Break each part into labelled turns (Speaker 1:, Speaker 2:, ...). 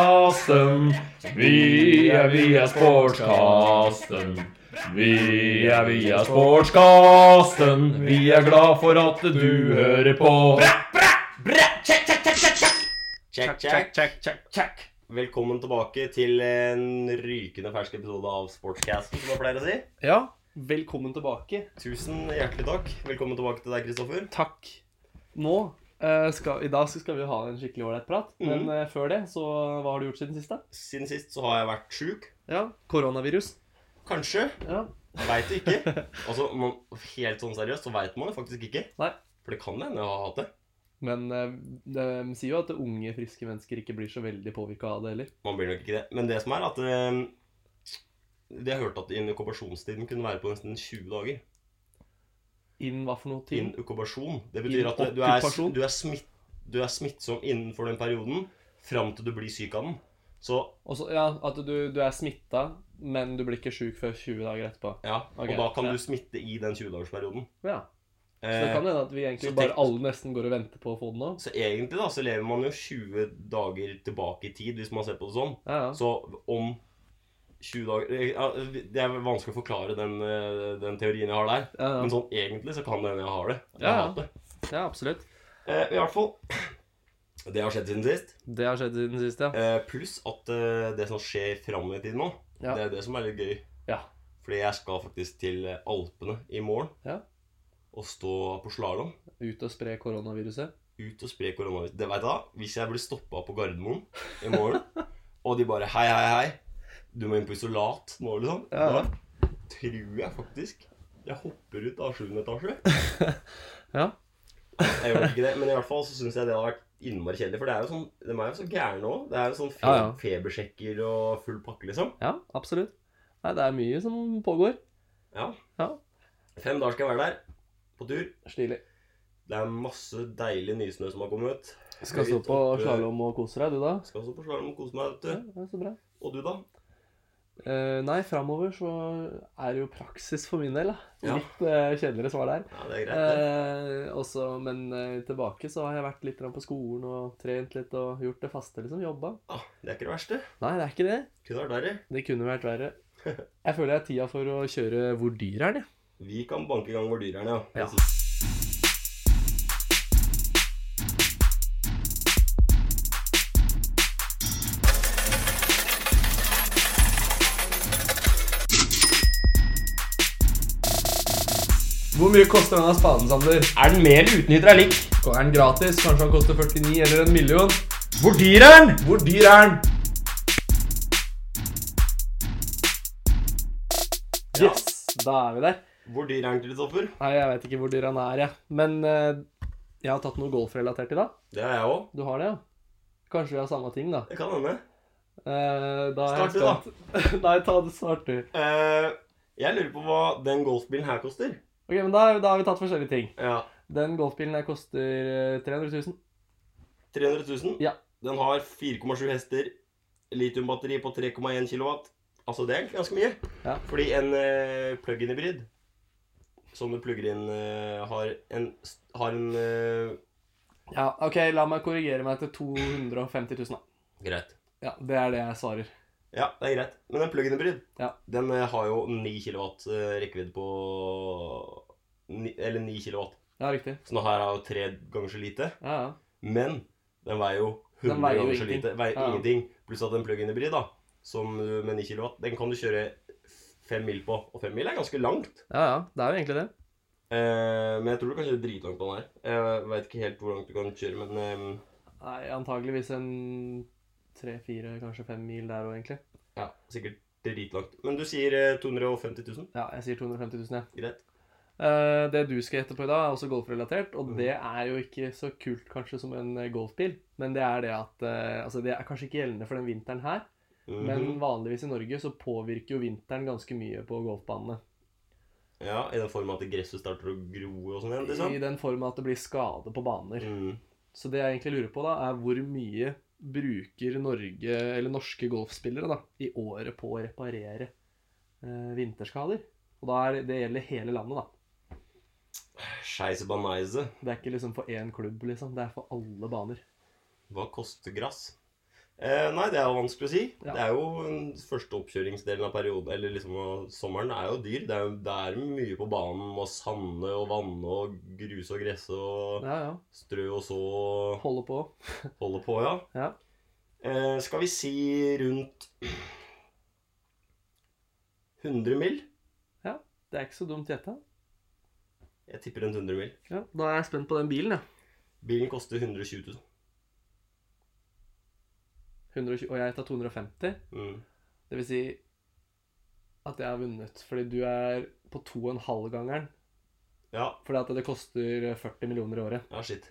Speaker 1: sportskasten. Vi er via sportskasten. Vi er via sportskasten. Vi er glad for at du hører på.
Speaker 2: Check, check, check, check, check. Velkommen tilbake til en rykende fersk episode av Sportscasten, som jeg pleier å si.
Speaker 3: Ja, velkommen tilbake.
Speaker 2: Tusen hjertelig takk. Velkommen tilbake til deg, Kristoffer.
Speaker 3: Takk. Nå eh, skal, I dag skal vi ha en skikkelig ålreit prat,
Speaker 2: Mhm.
Speaker 3: men eh, før det, så hva har du gjort siden sist? da?
Speaker 2: Siden sist så har jeg vært sjuk.
Speaker 3: Ja, koronavirus.
Speaker 2: Kanskje.
Speaker 3: Ja.
Speaker 2: Veit du ikke. Altså, man, helt sånn seriøst så veit man det faktisk ikke.
Speaker 3: Nei.
Speaker 2: For det kan hende jeg har hatt det.
Speaker 3: Men eh, de sier jo at unge, friske mennesker ikke blir så veldig påvirka av det heller.
Speaker 2: Man blir nok ikke det. Men det som er at eh, det jeg hørte at inkubasjonstiden kunne være på nesten 20 dager.
Speaker 3: Innen hva for noe tid?
Speaker 2: Inkubasjon. Det betyr at du er,
Speaker 3: Inokkupasjon?
Speaker 2: du, er smitt, du er smittsom innenfor den perioden fram til du blir syk av den. Så
Speaker 3: Og så- ja, at du, du er smitta, men du blir ikke sjuk før 20 dager etterpå.
Speaker 2: ja,
Speaker 3: Ok,
Speaker 2: Og da kan
Speaker 3: ja.
Speaker 2: du smitte i den 20-dagersperioden.
Speaker 3: Ja. Så det
Speaker 2: Eh,
Speaker 3: kan hende at vi egentlig
Speaker 2: så
Speaker 3: bare
Speaker 2: tenk-
Speaker 3: alle nesten går og venter på å få det nå.
Speaker 2: så egentlig da, så lever man jo 20 dager tilbake i tid, hvis man ser på det sånn.
Speaker 3: Ja, ja.
Speaker 2: Så om 20 dager eh, ja, Det er vanskelig å forklare den, eh, den teorien jeg har der.
Speaker 3: Ja, ja.
Speaker 2: Men sånn egentlig så kan det hende jeg har det. Jeg
Speaker 3: Ja,
Speaker 2: har
Speaker 3: ja.
Speaker 2: hatt det.
Speaker 3: ja, absolutt.
Speaker 2: Eh, I hvert fall. Det har skjedd siden sist.
Speaker 3: Det har skjedd siden sist, ja.
Speaker 2: Eh, pluss at eh, det som skjer fram i tid nå,
Speaker 3: Ja.
Speaker 2: det er det som er litt gøy.
Speaker 3: Ja.
Speaker 2: Fordi jeg skal faktisk til eh, Alpene i morgen
Speaker 3: Ja.
Speaker 2: og stå på slalåm.
Speaker 3: Ut og spre koronaviruset.
Speaker 2: Ut og spre koronavirus. Det vet jeg da, Hvis jeg blir stoppa på Gardermoen i morgen, og de bare Hei, hei, hei. Du må inn på isolat nå, liksom.
Speaker 3: Ja.
Speaker 2: Da tror jeg faktisk jeg hopper ut av 7. etasje.
Speaker 3: Ja.
Speaker 2: Jeg gjør nok ikke det, men i hvert fall så syns jeg det har vært innmari kjedelig. For det er jo sånn, de er jo så gærne òg. Det er jo sånn fe
Speaker 3: Ja, ja.
Speaker 2: febersjekker og full pakke, liksom.
Speaker 3: Ja, absolutt. Nei, det er mye som pågår.
Speaker 2: Ja.
Speaker 3: Ja.
Speaker 2: Fem dager skal jeg være der, på tur.
Speaker 3: Stilig.
Speaker 2: Det er masse deilig nysnø som har kommet ut.
Speaker 3: Skal stå på slalåm og kose deg, du da?
Speaker 2: Skal stå på slalåm og kose meg,
Speaker 3: Ja,
Speaker 2: vet du.
Speaker 3: det er så bra.
Speaker 2: Og du, da?
Speaker 3: Eh, nei, framover så er det jo praksis for min del, da.
Speaker 2: Ja.
Speaker 3: Litt eh, kjedeligere svar der.
Speaker 2: Ja, det er greit, det.
Speaker 3: Eh, også, men eh, tilbake så har jeg vært litt grann på skolen og trent litt og gjort det faste, liksom. Jobba.
Speaker 2: Ja, Ah, det er ikke det verste.
Speaker 3: Nei, det er ikke det.
Speaker 2: Kunne vært verre.
Speaker 3: Det kunne vært verre. Jeg føler jeg har tida for å kjøre Hvor dyr er den, jeg.
Speaker 2: Vi kan banke i gang hvor dyr er, den, ja.
Speaker 3: Ja. Hvor mye koster denne spaden, Sander?
Speaker 2: Er den med eller uten hydraulikk?
Speaker 3: Er den gratis? Kanskje han koster 49 eller en million?
Speaker 2: Hvor dyr er den?
Speaker 3: Hvor dyr er den? Yes, da er vi der.
Speaker 2: Hvor dyr er den, Kristoffer?
Speaker 3: Nei, jeg veit ikke hvor dyr han er, jeg. Men eh, jeg har tatt noe golfrelatert i dag.
Speaker 2: Det er jeg òg.
Speaker 3: Du har det, ja? Kanskje vi har samme ting, da.
Speaker 2: Det kan hende.
Speaker 3: Eh, da er jeg
Speaker 2: Start du, da.
Speaker 3: spent. Nei, ta det snart, du.
Speaker 2: Eh, jeg lurer på hva den golfbilen her koster.
Speaker 3: Ok, men da, da har vi tatt forskjellige ting.
Speaker 2: Ja.
Speaker 3: Den golfbilen her koster eh, 300 000.
Speaker 2: 300 000.
Speaker 3: Ja.
Speaker 2: Den har 4,7 hester, litiumbatteri på 3,1 kW. Altså, det er egentlig ganske mye.
Speaker 3: Ja.
Speaker 2: Fordi en eh, plug-in-hybrid som du plugger inn, eh, har en, s- har en eh,
Speaker 3: Ja, OK, la meg korrigere meg til 250 000, da.
Speaker 2: Greit.
Speaker 3: Ja, det er det jeg svarer.
Speaker 2: Ja, det er greit. Men en plug-in-hybrid,
Speaker 3: Ja.
Speaker 2: den eh, har jo 9 kW eh, rekkevidde på ni, Eller 9 kW.
Speaker 3: Ja, riktig.
Speaker 2: Så den her er jo tre ganger så lite.
Speaker 3: Ja, ja.
Speaker 2: Men den veier jo 100
Speaker 3: Den veier jo
Speaker 2: ganger så
Speaker 3: ingenting.
Speaker 2: lite. Veier
Speaker 3: Ja.
Speaker 2: ingenting. Pluss at en plug-in hybrid da, som du- med 9 kW, den kan du kjøre 5 mil på. Og 5 mil er ganske langt.
Speaker 3: Ja, ja. Det er jo egentlig det.
Speaker 2: Eh, men jeg tror du kan kjøre dritlangt på den her. Jeg veit ikke helt hvor langt du kan kjøre, men eh,
Speaker 3: Nei, antageligvis en tre-fire, kanskje fem mil der òg, egentlig.
Speaker 2: ja, sikkert dritlangt. Men du sier eh, 250 000.
Speaker 3: Ja, jeg sier 250 000, jeg.
Speaker 2: Greit.
Speaker 3: Eh, det du skal gjette på i dag, er også golfrelatert,
Speaker 2: Mm.
Speaker 3: og det er jo ikke så kult kanskje som en eh, golfbil, men det er det at eh, Altså, det er kanskje ikke gjeldende for den vinteren her,
Speaker 2: Mhm.
Speaker 3: men vanligvis i Norge så påvirker jo vinteren ganske mye på golfbanene.
Speaker 2: Ja, I den form at gresset starter å gro og sånn igjen, liksom?
Speaker 3: I den form at det blir skade på baner.
Speaker 2: Mm.
Speaker 3: Så det jeg egentlig lurer på, da, er hvor mye bruker Norge, eller norske golfspillere, da, i året på å reparere eh, vinterskader? Og da er det, det gjelder hele landet, da.
Speaker 2: Scheisse baneise.
Speaker 3: Det er ikke liksom for én klubb, liksom. Det er for alle baner.
Speaker 2: Hva koster gress? Eh, nei, det er jo vanskelig å si.
Speaker 3: Ja.
Speaker 2: Det er jo en første oppkjøringsdelen av perioden, eller liksom av sommeren, er jo dyr. Det er, jo- det er mye på banen med å sande og vanne og gruse og gresse og
Speaker 3: Ja, ja.
Speaker 2: strø og så og
Speaker 3: Holde på.
Speaker 2: holde på, ja.
Speaker 3: Ja.
Speaker 2: Eh, skal vi si rundt 100 mil?
Speaker 3: Det er ikke så dumt gjetta.
Speaker 2: Jeg tipper rundt 100 mil.
Speaker 3: Ja, da er jeg spent på den bilen, jeg.
Speaker 2: Bilen koster 120 000.
Speaker 3: 120, og jeg tar 250.
Speaker 2: Mm.
Speaker 3: Det vil si at jeg har vunnet, fordi du er på 2,5-gangeren.
Speaker 2: Ja,
Speaker 3: Fordi at det koster 40 millioner i året.
Speaker 2: ja, shit.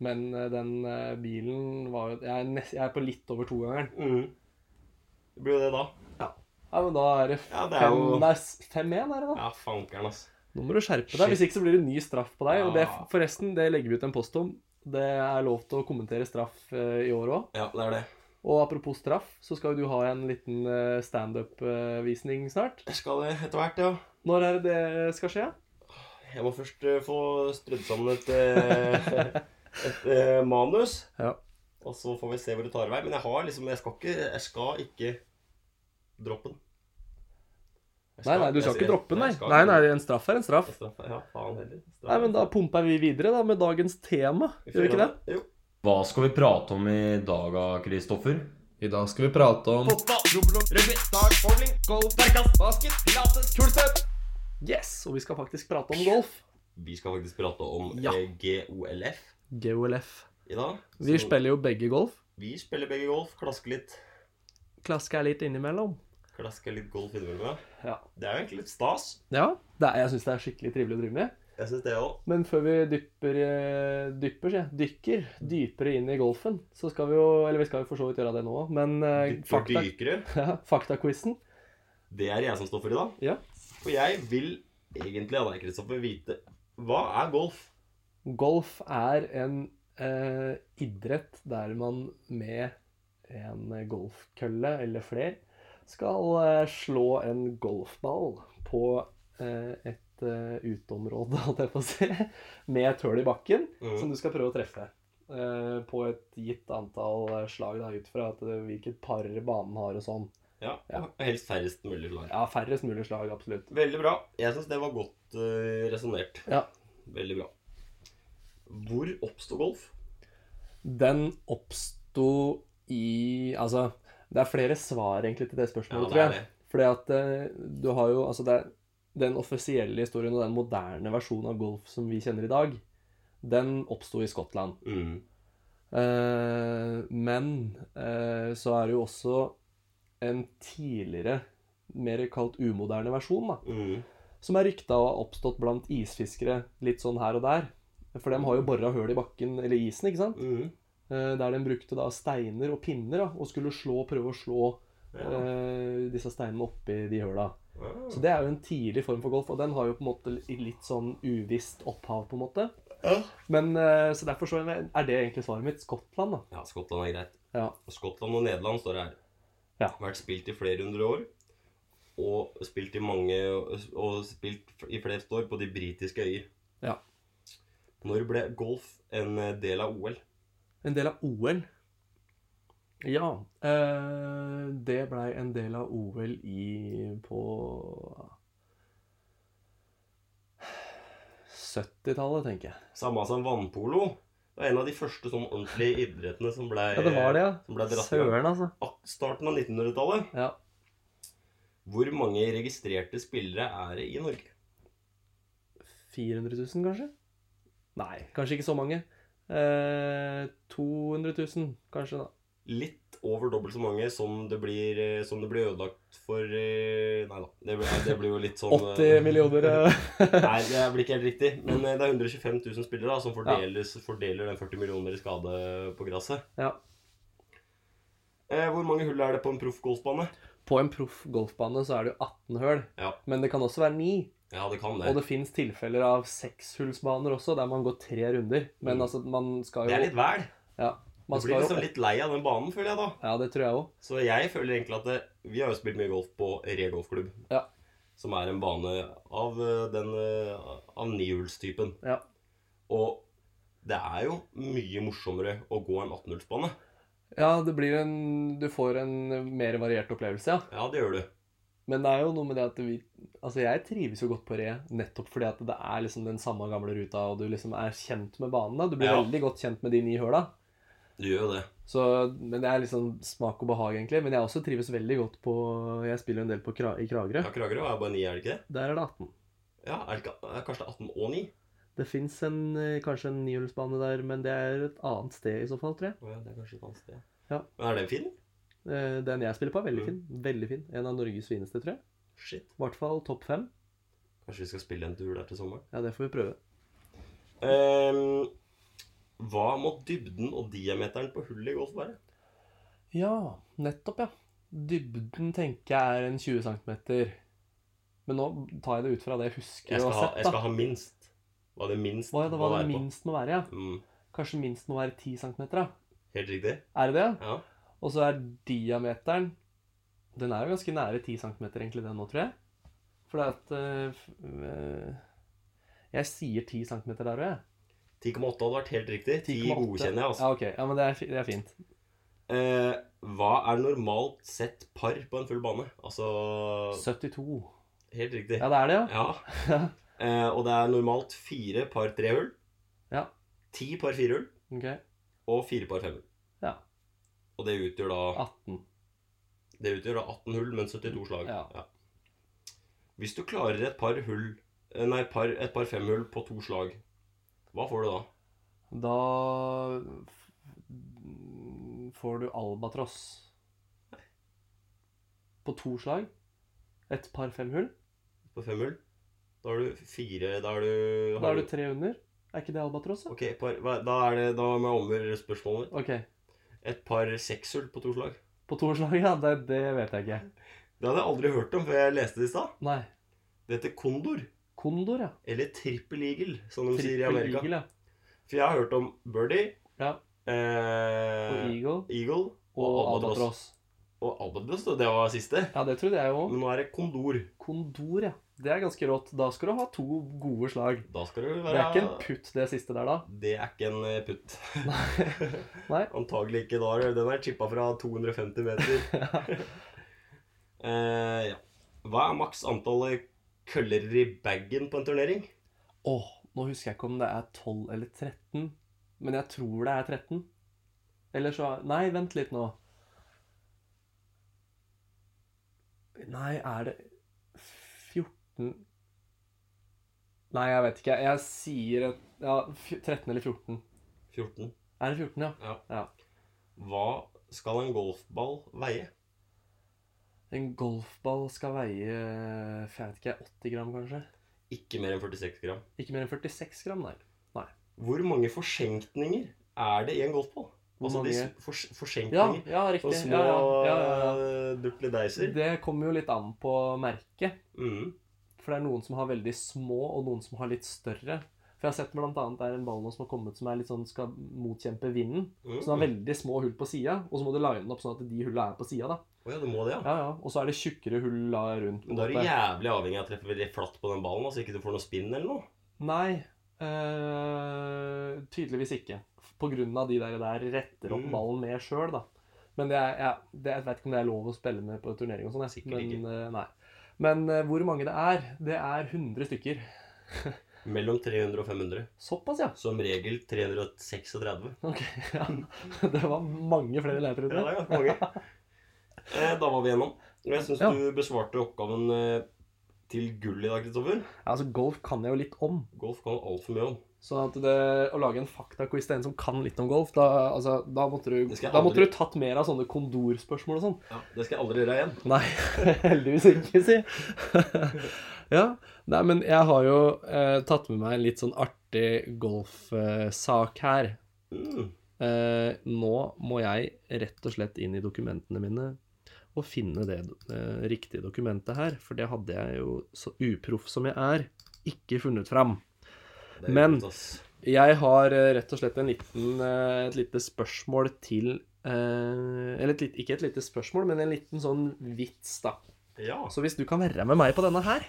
Speaker 3: Men eh, den eh, bilen var jo Jeg er, nest, jeg er på litt over to-gangeren.
Speaker 2: Mm. Det blir jo det, da.
Speaker 3: Ja, men da er det
Speaker 2: Ja, det er
Speaker 3: fem-
Speaker 2: jo
Speaker 3: nei, s- 5-1, er det da?
Speaker 2: Ja, fankeren, altså.
Speaker 3: Nå må du skjerpe deg, hvis ikke så blir det ny straff på deg. Og det,
Speaker 2: Ja.
Speaker 3: forresten, det legger vi ut en post om. Det er lov til å kommentere straff eh, i år òg.
Speaker 2: Ja, det er det.
Speaker 3: Og apropos straff, så skal jo du ha en liten eh, standup-visning snart.
Speaker 2: Jeg skal det etter hvert, ja.
Speaker 3: Når er det det skal skje?
Speaker 2: Jeg må først eh, få strødd sammen et, eh, et eh, manus.
Speaker 3: Ja.
Speaker 2: Og så får vi se hvor det tar vei. Men jeg har liksom Jeg skal ikke, jeg skal ikke droppe den. Jeg
Speaker 3: Nei, nei, du skal
Speaker 2: jeg-
Speaker 3: ikke
Speaker 2: jeg-
Speaker 3: droppe den, nei.
Speaker 2: jeg skal
Speaker 3: Nei,
Speaker 2: ikke
Speaker 3: nei,
Speaker 2: droppe
Speaker 3: en straff er en straff.
Speaker 2: den. Straff- Ja, faen heller. Straff-
Speaker 3: Nei, men da pumper vi videre da med dagens tema, gjør vi ikke det?
Speaker 2: Jo.
Speaker 1: Hva skal vi prate om i dag, da, Kristoffer?
Speaker 4: I dag skal vi prate om
Speaker 3: Yes, og vi skal faktisk prate om golf.
Speaker 2: Vi skal faktisk prate om
Speaker 3: Ja.
Speaker 2: eh, GOLF
Speaker 3: GOLF.
Speaker 2: i dag.
Speaker 3: Vi
Speaker 2: Så
Speaker 3: spiller jo begge golf.
Speaker 2: vi spiller begge golf. Klasker litt.
Speaker 3: Klasker litt innimellom.
Speaker 2: Klasker litt golf innimellom.
Speaker 3: Ja.
Speaker 2: Det er jo egentlig litt stas.
Speaker 3: Ja, det er, jeg syns det er skikkelig trivelig å drive med.
Speaker 2: Jeg syns det òg.
Speaker 3: Men før vi dypper, eh, dypper, sier jeg, dykker dypere inn i golfen, så skal vi jo Eller vi skal jo for så vidt gjøre det nå òg, men eh,
Speaker 2: Dypper
Speaker 3: fakta,
Speaker 2: dykere.
Speaker 3: ja, faktaquizen
Speaker 2: Det er jeg som står for i dag.
Speaker 3: Ja.
Speaker 2: For jeg vil egentlig av deg, Kristoffer, vite hva er golf?
Speaker 3: Golf er en eh, idrett der man med en golfkølle eller fler skal eh, slå en golfball på eh, et eh, uteområde, holdt jeg på å si, med et hull i bakken som du skal prøve å treffe. eh, på et gitt antall eh, slag, da, ut fra at, eh, hvilket par banen har og sånn.
Speaker 2: Ja,
Speaker 3: Ja.
Speaker 2: og Helst færrest mulig slag.
Speaker 3: Ja, færrest mulig slag, absolutt.
Speaker 2: Veldig bra. Jeg syns det var godt uh, resonnert.
Speaker 3: Ja.
Speaker 2: Veldig bra. Hvor oppsto golf?
Speaker 3: Den oppsto i Altså, det er flere svar egentlig til det spørsmålet, tror
Speaker 2: det
Speaker 3: jeg.
Speaker 2: er det.
Speaker 3: Fordi at eh, du har jo Altså, det er den offisielle historien og den moderne versjonen av golf som vi kjenner i dag, den oppsto i Skottland.
Speaker 2: Mm.
Speaker 3: Eh, men eh, så er det jo også en tidligere, mer kalt umoderne versjon, da,
Speaker 2: Mm.
Speaker 3: som er rykta å ha oppstått blant isfiskere litt sånn her og der. For dem har jo bora høl i bakken, eller isen, ikke sant?
Speaker 2: Mm.
Speaker 3: Eh, der de brukte da steiner og pinner da, og skulle slå, prøve å slå
Speaker 2: Ja.
Speaker 3: eh, disse steinene oppi de høla.
Speaker 2: Ah.
Speaker 3: Så det er jo en tidlig form for golf, og den har jo på en måte li- litt sånn uvisst opphav, på en måte.
Speaker 2: Ja.
Speaker 3: Men eh, så derfor så er det egentlig svaret mitt. Skottland, da.
Speaker 2: Ja, Skottland er greit.
Speaker 3: Ja.
Speaker 2: Skottland og Nederland står det her.
Speaker 3: Ja.
Speaker 2: Vært spilt i flere hundre år. Og spilt i mange Og spilt i flest år på de britiske øyer.
Speaker 3: Ja.
Speaker 2: Når ble golf en eh, del av OL?
Speaker 3: En del av OL. Ja. eh, det blei en del av OL i på 70-tallet, tenker jeg.
Speaker 2: Samme som vannpolo. Det var en av de første sånn ordentlige idrettene som ble,
Speaker 3: Ja, det var det, ja.
Speaker 2: Eh, Som ble dratt i gang.
Speaker 3: Søren, altså.
Speaker 2: Ak- Starten av 1900-tallet.
Speaker 3: Ja.
Speaker 2: Hvor mange registrerte spillere er det i Norge?
Speaker 3: 400 000, kanskje? Nei, kanskje ikke så mange. Eh, 200 000, kanskje, da.
Speaker 2: Litt over dobbelt så mange som det blir, eh, som det blir ødelagt for eh, Nei da. Det blir, det blir jo litt sånn eh,
Speaker 3: 80 millioner eh,
Speaker 2: Nei, det blir ikke helt riktig. Men eh, det er 125 000 spillere da, som fordeles, fordeler den 40 millioner i skade på gresset.
Speaker 3: ja.
Speaker 2: Eh, hvor mange hull er det på en proffgolfbane?
Speaker 3: På en proff golfbane så er det jo 18 høl,
Speaker 2: Ja.
Speaker 3: men det kan også være 9.
Speaker 2: Ja, det kan
Speaker 3: Og
Speaker 2: det.
Speaker 3: det fins tilfeller av sekshullsbaner også, der man går tre runder. Men
Speaker 2: Mm.
Speaker 3: altså, man skal
Speaker 2: Det
Speaker 3: jo
Speaker 2: er litt vel.
Speaker 3: Ja,
Speaker 2: Du
Speaker 3: man
Speaker 2: blir
Speaker 3: skal jo
Speaker 2: liksom litt lei av den banen, føler jeg da.
Speaker 3: Ja, det tror jeg òg.
Speaker 2: Så jeg føler egentlig at det, Vi har jo spilt mye golf på Re golfklubb.
Speaker 3: Ja.
Speaker 2: Som er en bane av eh, den eh, Av nihulstypen.
Speaker 3: Ja.
Speaker 2: Og det er jo mye morsommere å gå en 18-hullsbane.
Speaker 3: Ja, det blir en Du får en mer variert opplevelse, ja.
Speaker 2: Ja, det gjør du.
Speaker 3: Men det er jo noe med det at vi Altså, jeg trives jo godt på re nettopp fordi at det er liksom den samme gamle ruta, og du liksom er kjent med banene. Du blir
Speaker 2: Ja.
Speaker 3: veldig godt kjent med de ni høla.
Speaker 2: Du gjør jo det.
Speaker 3: Så, men det er liksom smak og behag, egentlig. Men jeg også trives veldig godt på Jeg spiller jo en del på Kra i Kragerø.
Speaker 2: Ja, Kragerø er bare 9, er det ikke det?
Speaker 3: Der er det 18.
Speaker 2: Ja, er det ikke, er kanskje det er 18 og 9?
Speaker 3: Det fins kanskje en nihjulsbane der, men det er et annet sted i så fall, tror jeg.
Speaker 2: Å ja, det er kanskje et annet sted.
Speaker 3: Ja.
Speaker 2: Men er den fin?
Speaker 3: Eh, Den jeg spiller på, er veldig
Speaker 2: Mm.
Speaker 3: fin. Veldig fin. En av Norges fineste, tror jeg.
Speaker 2: Shit.
Speaker 3: I hvert fall topp fem.
Speaker 2: Kanskje vi skal spille en tur der til sommeren?
Speaker 3: Ja, det får vi prøve.
Speaker 2: Ehm, hva må dybden og diameteren på hullet i golf være?
Speaker 3: Ja, nettopp, ja. Dybden tenker jeg er en 20 cm. Men nå tar jeg det ut fra det jeg husker
Speaker 2: Jeg
Speaker 3: og
Speaker 2: skal,
Speaker 3: har
Speaker 2: ha,
Speaker 3: sett.
Speaker 2: jeg skal
Speaker 3: da.
Speaker 2: ha minst. Hva det minst
Speaker 3: Hva er det, hva det
Speaker 2: være på.
Speaker 3: minst må være? ja?
Speaker 2: Mm,
Speaker 3: Kanskje minst må være 10 cm? Ja.
Speaker 2: helt riktig.
Speaker 3: Er det det?
Speaker 2: Ja.
Speaker 3: Og så er diameteren Den er jo ganske nære 10 cm, egentlig, den nå, tror jeg. For det er at eh, f- eh, Jeg sier 10 cm der òg, jeg.
Speaker 2: 10,8 hadde vært helt riktig. 10
Speaker 3: 10,8.
Speaker 2: godkjenner jeg, altså.
Speaker 3: Ja, ok. Ja, men det er, fi- det er fint.
Speaker 2: Eh, hva er normalt sett par på en full bane? Altså
Speaker 3: 72.
Speaker 2: Helt riktig.
Speaker 3: Ja, det er det, ja.
Speaker 2: Ja. Eh, og det er normalt fire par trehull.
Speaker 3: Ja.
Speaker 2: Ti par firehull
Speaker 3: Ok.
Speaker 2: og fire par femhull.
Speaker 3: Ja.
Speaker 2: Og det utgjør da
Speaker 3: 18.
Speaker 2: Det utgjør da 18 hull, men 72 slag.
Speaker 3: Ja.
Speaker 2: Hvis du klarer et par hull eh, Nei, par, et par femhull på to slag, hva får du da?
Speaker 3: Da f- får du albatross. På to slag. Et par femhull.
Speaker 2: På femhull? Da har du fire Da har du,
Speaker 3: Da er du tre under. Er ikke det albatross? da?
Speaker 2: Ok, par, hva- da er det Da må jeg omgjøre spørsmålet mitt.
Speaker 3: Ok.
Speaker 2: Et par sekshull på to slag?
Speaker 3: På to slag, ja. Det, det vet jeg ikke.
Speaker 2: Det hadde jeg aldri hørt om før jeg leste det i stad.
Speaker 3: Nei.
Speaker 2: Det heter kondor.
Speaker 3: Kondor, ja.
Speaker 2: Eller trippel eagle, som de sier i
Speaker 3: Triple
Speaker 2: Amerika.
Speaker 3: eagle, ja.
Speaker 2: For jeg har hørt om birdie,
Speaker 3: Ja. Og
Speaker 2: eh,
Speaker 3: eagle.
Speaker 2: eagle og,
Speaker 3: Og
Speaker 2: albatross.
Speaker 3: albatross.
Speaker 2: Og albatross, da, det var siste.
Speaker 3: Ja, det trodde jeg òg.
Speaker 2: Men nå er det kondor.
Speaker 3: Kondor, ja. Det er ganske rått. Da skal du ha to gode slag.
Speaker 2: Da skal det
Speaker 3: Det
Speaker 2: være
Speaker 3: er ikke en putt, det siste der, da.
Speaker 2: Det er ikke en eh, putt.
Speaker 3: Nei.
Speaker 2: Antagelig ikke. da. er- Den er chippa fra 250 meter. eh, ja. Hva er maks antall eh, køller i bagen på en turnering?
Speaker 3: Åh, nå husker jeg ikke om det er 12 eller 13, men jeg tror det er 13. Eller så Nei, vent litt nå. Nei, er det 14 Nei, jeg vet ikke. Jeg sier et, ja, fj- 13 eller 14.
Speaker 2: 14.
Speaker 3: Er det 14, ja?
Speaker 2: Ja. Hva skal en golfball veie?
Speaker 3: En golfball skal veie jeg vet ikke, 80 gram, kanskje?
Speaker 2: Ikke mer enn 46 gram.
Speaker 3: Ikke mer enn 46 gram, nei.
Speaker 2: Hvor mange forsenkninger er det i en golfball?
Speaker 3: Hvor
Speaker 2: altså
Speaker 3: mange-
Speaker 2: de s- fors
Speaker 3: Ja,
Speaker 2: forsenkninger.
Speaker 3: ja,
Speaker 2: Sånne
Speaker 3: riktig.
Speaker 2: små
Speaker 3: Ja, ja, ja, ja,
Speaker 2: eh,
Speaker 3: ja.
Speaker 2: duppedeiser.
Speaker 3: Det kommer jo litt an på merket.
Speaker 2: Mm.
Speaker 3: For det er noen som har veldig små, og noen som har litt større. For jeg har sett blant annet det er en ball nå som har kommet som er litt sånn, skal motkjempe vinden.
Speaker 2: Mm.
Speaker 3: Så den har veldig små hull på sida, og så må du line den opp sånn at de hulla er på sida.
Speaker 2: Å ja, du må det, ja.
Speaker 3: Ja, ja. Og så er det tjukkere hull da rundt. på en
Speaker 2: Men da er du
Speaker 3: måte.
Speaker 2: jævlig avhengig av å treffe veldig flatt på den ballen, da, så ikke du får noe spinn eller noe.
Speaker 3: Nei, øh, tydeligvis ikke. På grunn av de der, der retter opp
Speaker 2: Mm.
Speaker 3: ballen med sjøl, da. Men det er, jeg, det, jeg vet ikke om det er lov å spille med på turnering og sånn. jeg.
Speaker 2: Sikkert ikke.
Speaker 3: Men, øh, nei. Men øh, hvor mange det er? Det er 100 stykker.
Speaker 2: Mellom 300 og 500.
Speaker 3: Såpass, ja.
Speaker 2: Som regel 336.
Speaker 3: Ok, ja. Det var mange flere leter
Speaker 2: Ja, det
Speaker 3: ute.
Speaker 2: er ganske mange. Eh, Da var vi gjennom. Og jeg syns
Speaker 3: Ja.
Speaker 2: du besvarte oppgaven eh, til gull i dag, Kristoffer.
Speaker 3: Altså, golf kan jeg jo litt om.
Speaker 2: Golf kan altfor mye om.
Speaker 3: Så at det, å lage en faktaquiz til en som kan litt om golf, da, altså, da, måtte, du,
Speaker 2: Det skal jeg
Speaker 3: da måtte
Speaker 2: aldri-
Speaker 3: du tatt mer av sånne kondorspørsmål og sånn.
Speaker 2: Det skal jeg aldri gjøre igjen.
Speaker 3: Nei, heldigvis ikke, si. ja. Nei, men jeg har jo eh, tatt med meg en litt sånn artig golfsak her.
Speaker 2: Mm.
Speaker 3: Eh, nå må jeg rett og slett inn i dokumentene mine og finne det eh, riktige dokumentet her, for det hadde jeg jo, så uproff som jeg er, ikke funnet fram.
Speaker 2: Det er
Speaker 3: Men-
Speaker 2: godt, ass.
Speaker 3: Jeg har eh, rett og slett en liten, eh, et lite spørsmål til eh, Eller et, lit- ikke et lite spørsmål, men en liten sånn vits, da.
Speaker 2: Ja.
Speaker 3: Så hvis du kan være med meg på denne her,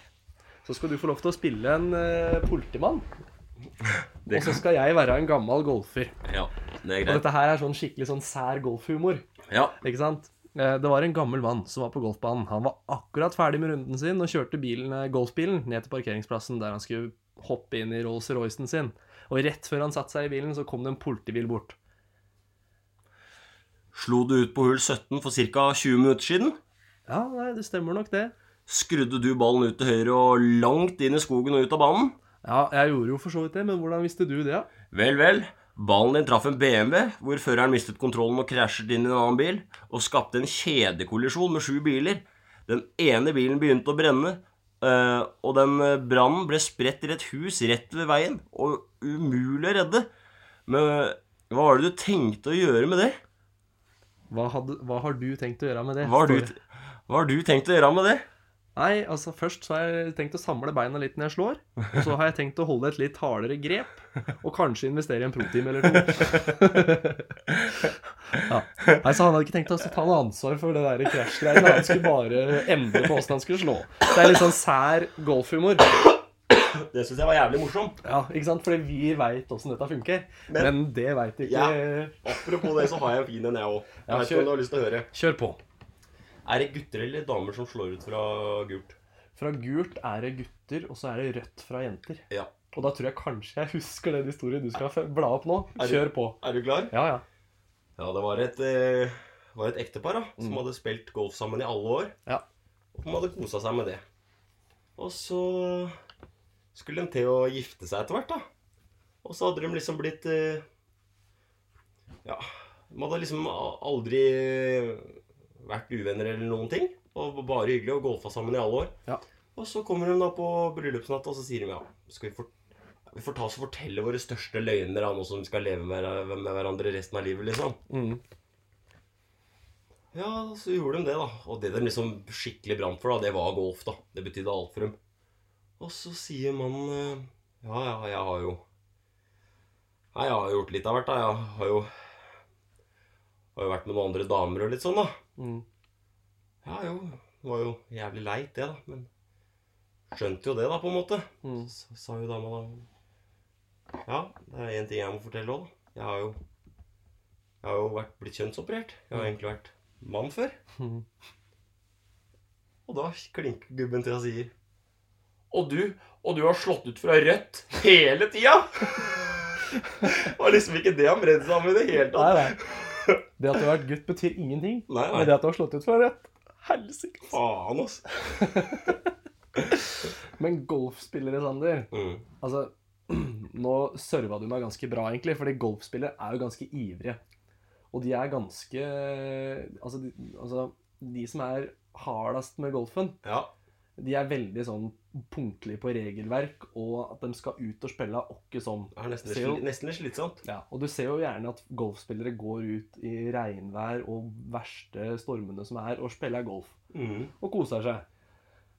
Speaker 3: så skal du få lov til å spille en eh, politimann. Og så skal jeg være en gammel golfer.
Speaker 2: ja. Det er
Speaker 3: Og
Speaker 2: greit.
Speaker 3: dette her er sånn skikkelig sånn sær golfhumor.
Speaker 2: Ja.
Speaker 3: Ikke sant? Eh, Det var en gammel mann som var på golfbanen. Han var akkurat ferdig med runden sin og kjørte bilen, eh, golfbilen ned til parkeringsplassen der han skulle hoppe inn i Rolls-Roycen sin. Og rett før han satte seg i bilen, så kom det en politibil bort.
Speaker 2: Slo du ut på hull 17 for ca. 20 minutter siden?
Speaker 3: Ja, nei, det stemmer nok det.
Speaker 2: Skrudde du ballen ut til høyre og langt inn i skogen og ut av banen?
Speaker 3: Ja, jeg gjorde jo for så vidt det, men hvordan visste du det? da?
Speaker 2: Vel, vel. Ballen din traff en BMW, hvor føreren mistet kontrollen og krasjet inn i en annen bil, og skapte en kjedekollisjon med sju biler. Den ene bilen begynte å brenne, eh, og den eh, brannen ble spredt til et hus rett ved veien, og umulig å redde. Men eh, hva var det du tenkte å gjøre med det?
Speaker 3: Hva, hadde, hva har du tenkt å gjøre med det?
Speaker 2: Hva har du,
Speaker 3: Står det.
Speaker 2: t- hva har du tenkt å gjøre med det?
Speaker 3: Nei, altså Først så har jeg tenkt å samle beina litt når jeg slår. Og så har jeg tenkt å holde et litt hardere grep. Og kanskje investere i en proteam eller to. ja. Nei, Så han hadde ikke tenkt å ta noe ansvar for det der krasjgreiene. Han skulle bare endre på åssen han skulle slå. Det er litt sånn sær golfhumor.
Speaker 2: Det syns jeg var jævlig morsomt.
Speaker 3: Ja, ikke sant? Fordi vi veit åssen dette funker. Men, det veit ikke
Speaker 2: Ja. Apropos det, så har jeg en fin en, jeg òg.
Speaker 3: Ja, vet ikke om kjør. du
Speaker 2: har lyst til å høre.
Speaker 3: Kjør på.
Speaker 2: Er det gutter eller damer som slår ut fra gult?
Speaker 3: Fra gult er det gutter, og så er det rødt fra jenter.
Speaker 2: Ja.
Speaker 3: Og da tror jeg kanskje jeg husker den historien du skal bla opp nå.
Speaker 2: Er det-
Speaker 3: Kjør på.
Speaker 2: Er du klar?
Speaker 3: Ja, ja.
Speaker 2: Ja, det var et, eh, var et ektepar da, som hadde spilt golf sammen i alle år.
Speaker 3: Mm. Ja.
Speaker 2: Og de hadde kosa seg med det. Og så skulle de til å gifte seg etter hvert, da. Og så hadde de liksom blitt eh, Ja. De hadde liksom a- aldri vært uvenner eller noen ting. Og var bare hyggelig og golfa sammen i alle år.
Speaker 3: Ja.
Speaker 2: Og så kommer de da på bryllupsnatt, og så sier de ja, skal vi fort vi får ta oss og fortelle våre største løgner da, nå som vi skal leve med, hver- med hverandre resten av livet, liksom.
Speaker 3: Mm.
Speaker 2: Ja, så gjorde de det, da. Og det de liksom skikkelig brant for, da, det var golf, da. Det betydde alt for dem. Og så sier mannen eh, Ja, ja, jeg har jo Nei, jeg har gjort litt av hvert, da. Jeg har jo Har jo vært med noen andre damer og litt sånn, da.
Speaker 3: Mm.
Speaker 2: Ja jo, det var jo jævlig leit det, da. Men skjønte jo det, da, på en måte.
Speaker 3: Mm.
Speaker 2: Så sa jo dama da Ja, det er én ting jeg må fortelle òg, da. Jeg har jo Jeg har jo vært, blitt kjønnsoperert. Jeg har egentlig vært mann før.
Speaker 3: Mhm.
Speaker 2: Og da klinker gubben til og sier Og du, og du har slått ut fra rødt hele tida! det var liksom ikke det han bredde seg om i det
Speaker 3: Nei,
Speaker 2: hele tatt.
Speaker 3: nei. Det at du har vært gutt, betyr ingenting.
Speaker 2: Nei,
Speaker 3: Men det at du har slått ut fra rett Helsike.
Speaker 2: Faen, altså.
Speaker 3: Men golfspillere, Sander
Speaker 2: Mm.
Speaker 3: Altså, nå serva du meg ganske bra, egentlig. Fordi golfspillere er jo ganske ivrige. Og de er ganske Altså, de, altså, de som er hardest med golfen,
Speaker 2: Ja.
Speaker 3: de er veldig sånn punktlige på regelverk, og at de skal ut og spille er åkke sånn.
Speaker 2: Det er nesten,
Speaker 3: Ser jo-
Speaker 2: litt sli- nesten litt slitsomt.
Speaker 3: Ja, og du ser jo gjerne at golfspillere går ut i regnvær og verste stormene som er, og spiller golf
Speaker 2: Mm.
Speaker 3: og koser seg.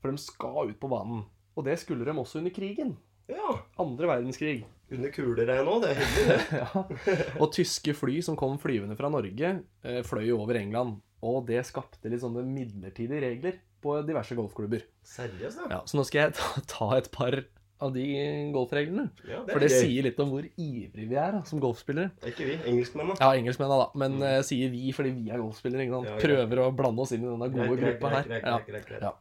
Speaker 3: For de skal ut på banen. Og det skulle de også under krigen.
Speaker 2: Ja.
Speaker 3: Andre verdenskrig.
Speaker 2: Under kuleregn òg, det er hyggelig.
Speaker 3: Ja. Og tyske fly som kom flyvende fra Norge, eh, fløy jo over England. Og det skapte litt sånne midlertidige regler på diverse golfklubber.
Speaker 2: Seriøst, da?
Speaker 3: Ja, så nå skal jeg ta, ta et par av de golfreglene.
Speaker 2: Ja, det er
Speaker 3: For det
Speaker 2: gøy.
Speaker 3: sier litt om hvor ivrige vi er da, som golfspillere.
Speaker 2: Det er ikke vi. Engelskmenn, da.
Speaker 3: Ja, engelskmennene, da. Men eh, sier vi fordi vi er golfspillere. Ikke sant?
Speaker 2: Mm. Ja, greit.
Speaker 3: Prøver å blande oss inn i denne gode
Speaker 2: Greit, greit,
Speaker 3: gruppa
Speaker 2: greit,
Speaker 3: her.
Speaker 2: greit,
Speaker 3: Ja.
Speaker 2: greit, greit, greit.
Speaker 3: Ja.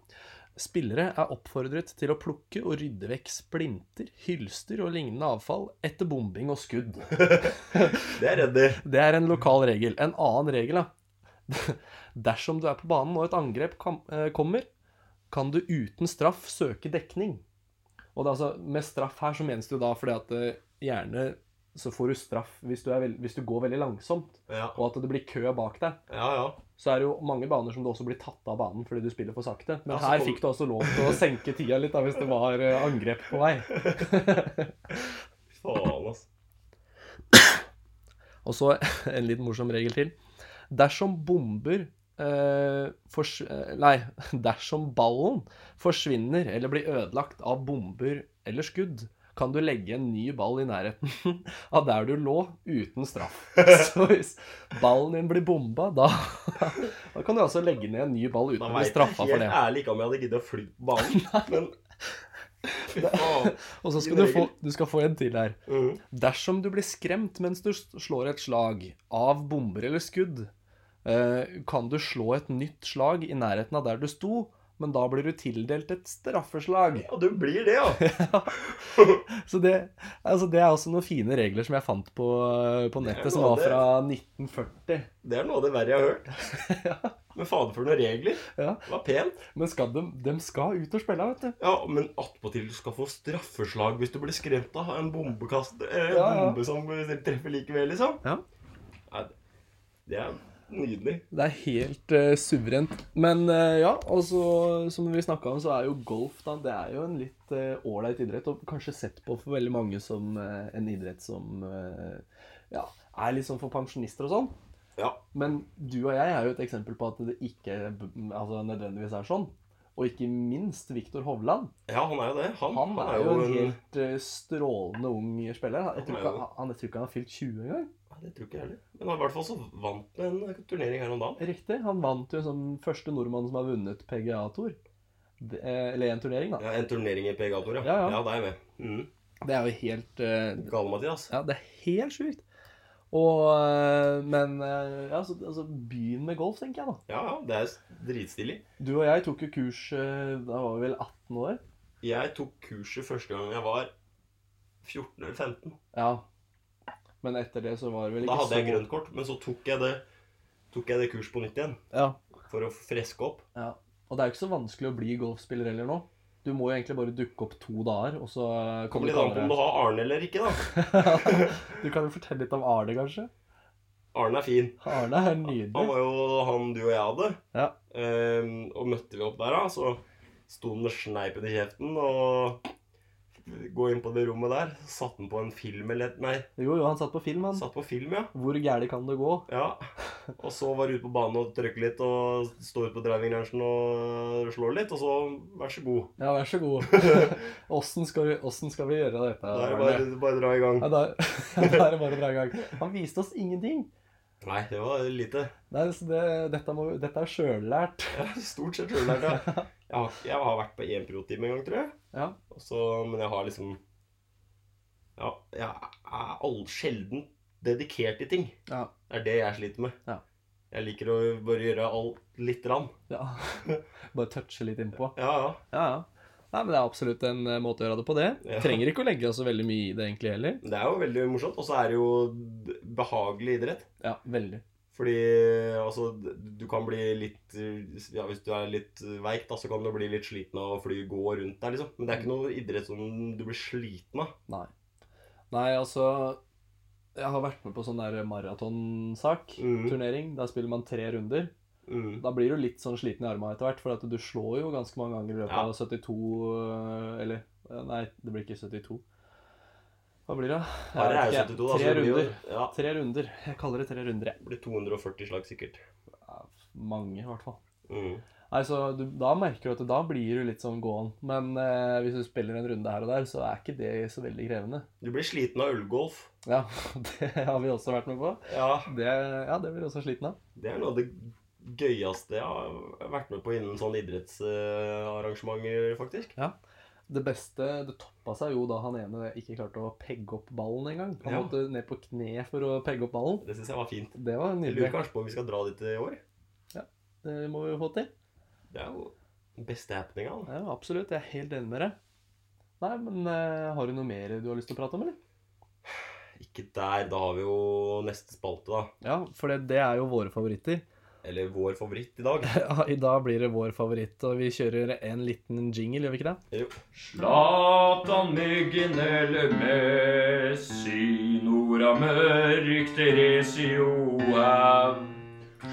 Speaker 3: Spillere er oppfordret til å plukke og rydde vekk splinter, hylster og lignende avfall etter bombing og skudd.
Speaker 2: Det er redd i.
Speaker 3: Det er en lokal regel. En annen regel, da. Dersom du er på banen og et angrep kam- eh, kommer, kan du uten straff søke dekning. Og det er altså, med straff her så menes det jo da fordi at eh, gjerne så får du straff hvis du, er vel- hvis du går veldig langsomt,
Speaker 2: Ja,
Speaker 3: og at det blir kø bak deg.
Speaker 2: ja. ja.
Speaker 3: så er det jo mange baner som du også blir tatt av banen fordi du spiller for sakte. Men
Speaker 2: Ja, så
Speaker 3: her
Speaker 2: kom-
Speaker 3: fikk du også lov til å senke tida litt da, hvis det var eh, angrep på vei.
Speaker 2: Faen, altså.
Speaker 3: Og så en litt morsom regel til. Dersom bomber eh, fors eh, Nei, dersom ballen forsvinner eller blir ødelagt av bomber eller skudd, kan du legge en ny ball i nærheten av der du lå, uten straff. Så hvis ballen din blir bomba, da, da kan du altså legge ned en ny ball uten
Speaker 2: Da
Speaker 3: å bli
Speaker 2: veit jeg
Speaker 3: straffa for
Speaker 2: helt
Speaker 3: det.
Speaker 2: ærlig ikke om jeg hadde giddet å fly på banen. Men
Speaker 3: Og så skal du få, du skal få en til her.
Speaker 2: Mm.
Speaker 3: Dersom du blir skremt mens du s- slår et slag av bomber eller skudd, eh, kan du slå et nytt slag i nærheten av der du sto, men da blir du tildelt et straffeslag.
Speaker 2: Ja, du blir det, ja.
Speaker 3: Så det, altså det er også noen fine regler som jeg fant på, på nettet, som var
Speaker 2: det.
Speaker 3: fra 1940.
Speaker 2: Det er noe av det verre jeg har hørt. Men fader, for noen regler.
Speaker 3: Ja.
Speaker 2: Det var pent.
Speaker 3: Men skal de, de skal ut og spille, vet du.
Speaker 2: Ja, men attpåtil du skal få straffeslag hvis du blir skremt av en bombekast eh,
Speaker 3: Ja, ja.
Speaker 2: bombe som treffer likevel, liksom.
Speaker 3: Ja.
Speaker 2: Nei, det er nydelig.
Speaker 3: Det er helt eh, suverent. Men eh, ja, og så, som vi snakka om, så er jo golf da, det er jo en litt eh, ålreit idrett. Og kanskje sett på for veldig mange som eh, en idrett som eh, ja, er litt sånn for pensjonister og sånn.
Speaker 2: Ja.
Speaker 3: Men du og jeg er jo et eksempel på at det ikke b- altså, nødvendigvis er sånn. Og ikke minst Viktor Hovland.
Speaker 2: ja, han er jo det. Han,
Speaker 3: Han er jo en
Speaker 2: en-
Speaker 3: helt eh, strålende ung spiller. Jeg tror ikke
Speaker 2: Han er jo det.
Speaker 3: han- han, jeg tror ikke han har fylt 20 engang.
Speaker 2: Nei, det tror ikke jeg heller. Men han i hvert fall så vant han en turnering her om dagen.
Speaker 3: Riktig. Han vant jo som første nordmann som har vunnet PGA-tor. eh, Eller en turnering, da.
Speaker 2: Ja, En turnering i PGA-tor, ja.
Speaker 3: Ja, ja.
Speaker 2: det er jeg med. Mm.
Speaker 3: Det er jo helt eh,
Speaker 2: Gale Mathias.
Speaker 3: Ja, det er helt sjukt. Og eh, Men eh, ja, så, altså, begynn med golf, tenker jeg, da.
Speaker 2: Ja, ja, det er dritstilig.
Speaker 3: Du og jeg tok jo kurs eh, da var vi vel 18 år.
Speaker 2: Jeg tok kurset første gang jeg var 14 eller 15.
Speaker 3: Ja. Men etter det så var det vel
Speaker 2: Da
Speaker 3: ikke
Speaker 2: hadde jeg grønt kort, men så tok jeg det, tok jeg det kurset på nytt igjen.
Speaker 3: Ja,
Speaker 2: For å freske opp.
Speaker 3: ja. Og det er jo ikke så vanskelig å bli golfspiller heller nå. Du må jo egentlig bare dukke opp to dager, og så eh,
Speaker 2: Kommer
Speaker 3: kan du
Speaker 2: litt an på
Speaker 3: kalle
Speaker 2: om du har Arne eller ikke, da.
Speaker 3: Du kan jo fortelle litt om Arne, kanskje?
Speaker 2: Arne er fin.
Speaker 3: Arne er nydelig.
Speaker 2: Han var jo han du og jeg hadde.
Speaker 3: Ja.
Speaker 2: Ehm, og møtte vi opp der, da, så sto han med sneipen i kjeften og Gå inn på det rommet der. Satt han på en film eller Nei,
Speaker 3: Jo, jo, han satt på film, han.
Speaker 2: satt på film, ja.
Speaker 3: Hvor gærlig kan det gå?
Speaker 2: Ja. Og så var det ute på banen og trykke litt, og stå ute på driving rangen og slå litt, og så vær så god.
Speaker 3: Ja, vær så god. Åssen skal, vi- hvordan skal vi gjøre dette?
Speaker 2: Da er det
Speaker 3: Arne?
Speaker 2: bare, bare å dra i gang.
Speaker 3: Ja, da, da er det bare å dra i gang. Han viste oss ingenting.
Speaker 2: Nei, det var lite.
Speaker 3: Nei, så det, dette, må, dette er sjøllært.
Speaker 2: Ja, Stort sett sjøllært, ja. Jeg har, ikke- jeg har vært på én pro-time en gang, tror jeg.
Speaker 3: Ja.
Speaker 2: Og så, men jeg har liksom Ja, jeg er all, sjelden dedikert i ting.
Speaker 3: Ja.
Speaker 2: Det er det jeg sliter med.
Speaker 3: Ja.
Speaker 2: Jeg liker å bare gjøre alt lite grann.
Speaker 3: ja. Bare touche litt innpå.
Speaker 2: Ja, ja.
Speaker 3: Ja, ja. Nei, men Det er absolutt en eh, måte å gjøre det på, det.
Speaker 2: Ja.
Speaker 3: Trenger ikke å legge oss så veldig mye i det egentlig heller.
Speaker 2: Det er jo veldig morsomt. Og så er det jo behagelig idrett.
Speaker 3: Ja, veldig.
Speaker 2: Fordi altså, du kan bli litt Ja, hvis du er litt veik, da, så kan du bli litt sliten av å fly gå rundt der, liksom. Men det er ikke noe idrett som du blir sliten av.
Speaker 3: Nei. Nei, altså Jeg har vært med på sånn der maratonsak.
Speaker 2: Mhm.
Speaker 3: Turnering. Der spiller man tre runder.
Speaker 2: Mm.
Speaker 3: Da blir du litt sånn sliten i armene etter hvert, for at du slår jo ganske mange ganger i løpet
Speaker 2: Ja.
Speaker 3: av 72 øh, Eller øh, nei, det blir ikke 72. Hva blir det? Jeg
Speaker 2: Her
Speaker 3: vet
Speaker 2: er jeg
Speaker 3: ikke.
Speaker 2: 72, da, så
Speaker 3: Tre
Speaker 2: det blir jo
Speaker 3: runder.
Speaker 2: ja,
Speaker 3: Tre runder. Jeg kaller det tre runder. jeg.
Speaker 2: det blir 240 slag sikkert.
Speaker 3: Ja, mange, i hvert fall.
Speaker 2: Mm.
Speaker 3: Nei, så du, Da merker du at da blir du litt sånn gåen. Men eh, hvis du spiller en runde her og der, så er ikke det så veldig krevende.
Speaker 2: Du blir sliten av ølgolf.
Speaker 3: Ja, Det har vi også vært med på.
Speaker 2: Ja,
Speaker 3: Det, ja, det blir du også sliten av.
Speaker 2: det er noe av det gøyeste jeg har vært med på innen sånne idrettsarrangementer, faktisk.
Speaker 3: Det beste Det toppa seg jo da han ene ikke klarte å pegge opp ballen engang. Han
Speaker 2: Ja.
Speaker 3: måtte ned på kne for å pegge opp ballen.
Speaker 2: Det syns jeg var fint.
Speaker 3: Det var
Speaker 2: Jeg lurer
Speaker 3: nydelig.
Speaker 2: kanskje på om vi skal dra dit i år.
Speaker 3: Det må vi jo få til.
Speaker 2: Det er jo den beste happeninga. da.
Speaker 3: Ja, absolutt. Jeg er helt enig med deg. Nei, men eh, har du noe mer du har lyst til å prate om, eller?
Speaker 2: Ikke der. Da har vi jo neste spalte, da.
Speaker 3: Ja, for det, det er jo våre favoritter.
Speaker 2: Eller vår favoritt i dag.
Speaker 3: Ja, I dag blir det vår favoritt, og vi kjører en liten jingle, gjør vi ikke det?
Speaker 2: Jo.
Speaker 1: Zlatan, Myggen eller Messi, Nora Mørk, Theresio Haug,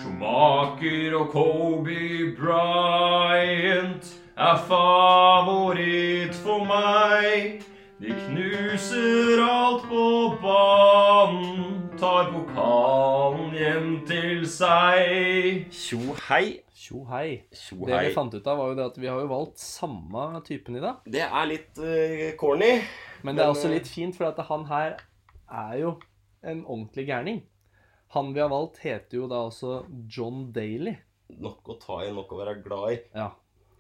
Speaker 1: Schumacher og Kobe Bryant er favoritt for meg. De knuser alt på banen, tar pokalen hjem til seg.
Speaker 2: Tjo hei.
Speaker 3: Tjo hei.
Speaker 2: Tjo
Speaker 3: Det vi fant ut av, var jo det at vi har jo valgt samme typen i dag.
Speaker 2: Det er litt eh, corny.
Speaker 3: Men det er
Speaker 2: Men,
Speaker 3: også
Speaker 2: eh,
Speaker 3: litt fint, for at han her er jo en ordentlig gærning. Han vi har valgt, heter jo da også John Daly.
Speaker 2: Nok å ta i, nok å være glad i.
Speaker 3: Ja.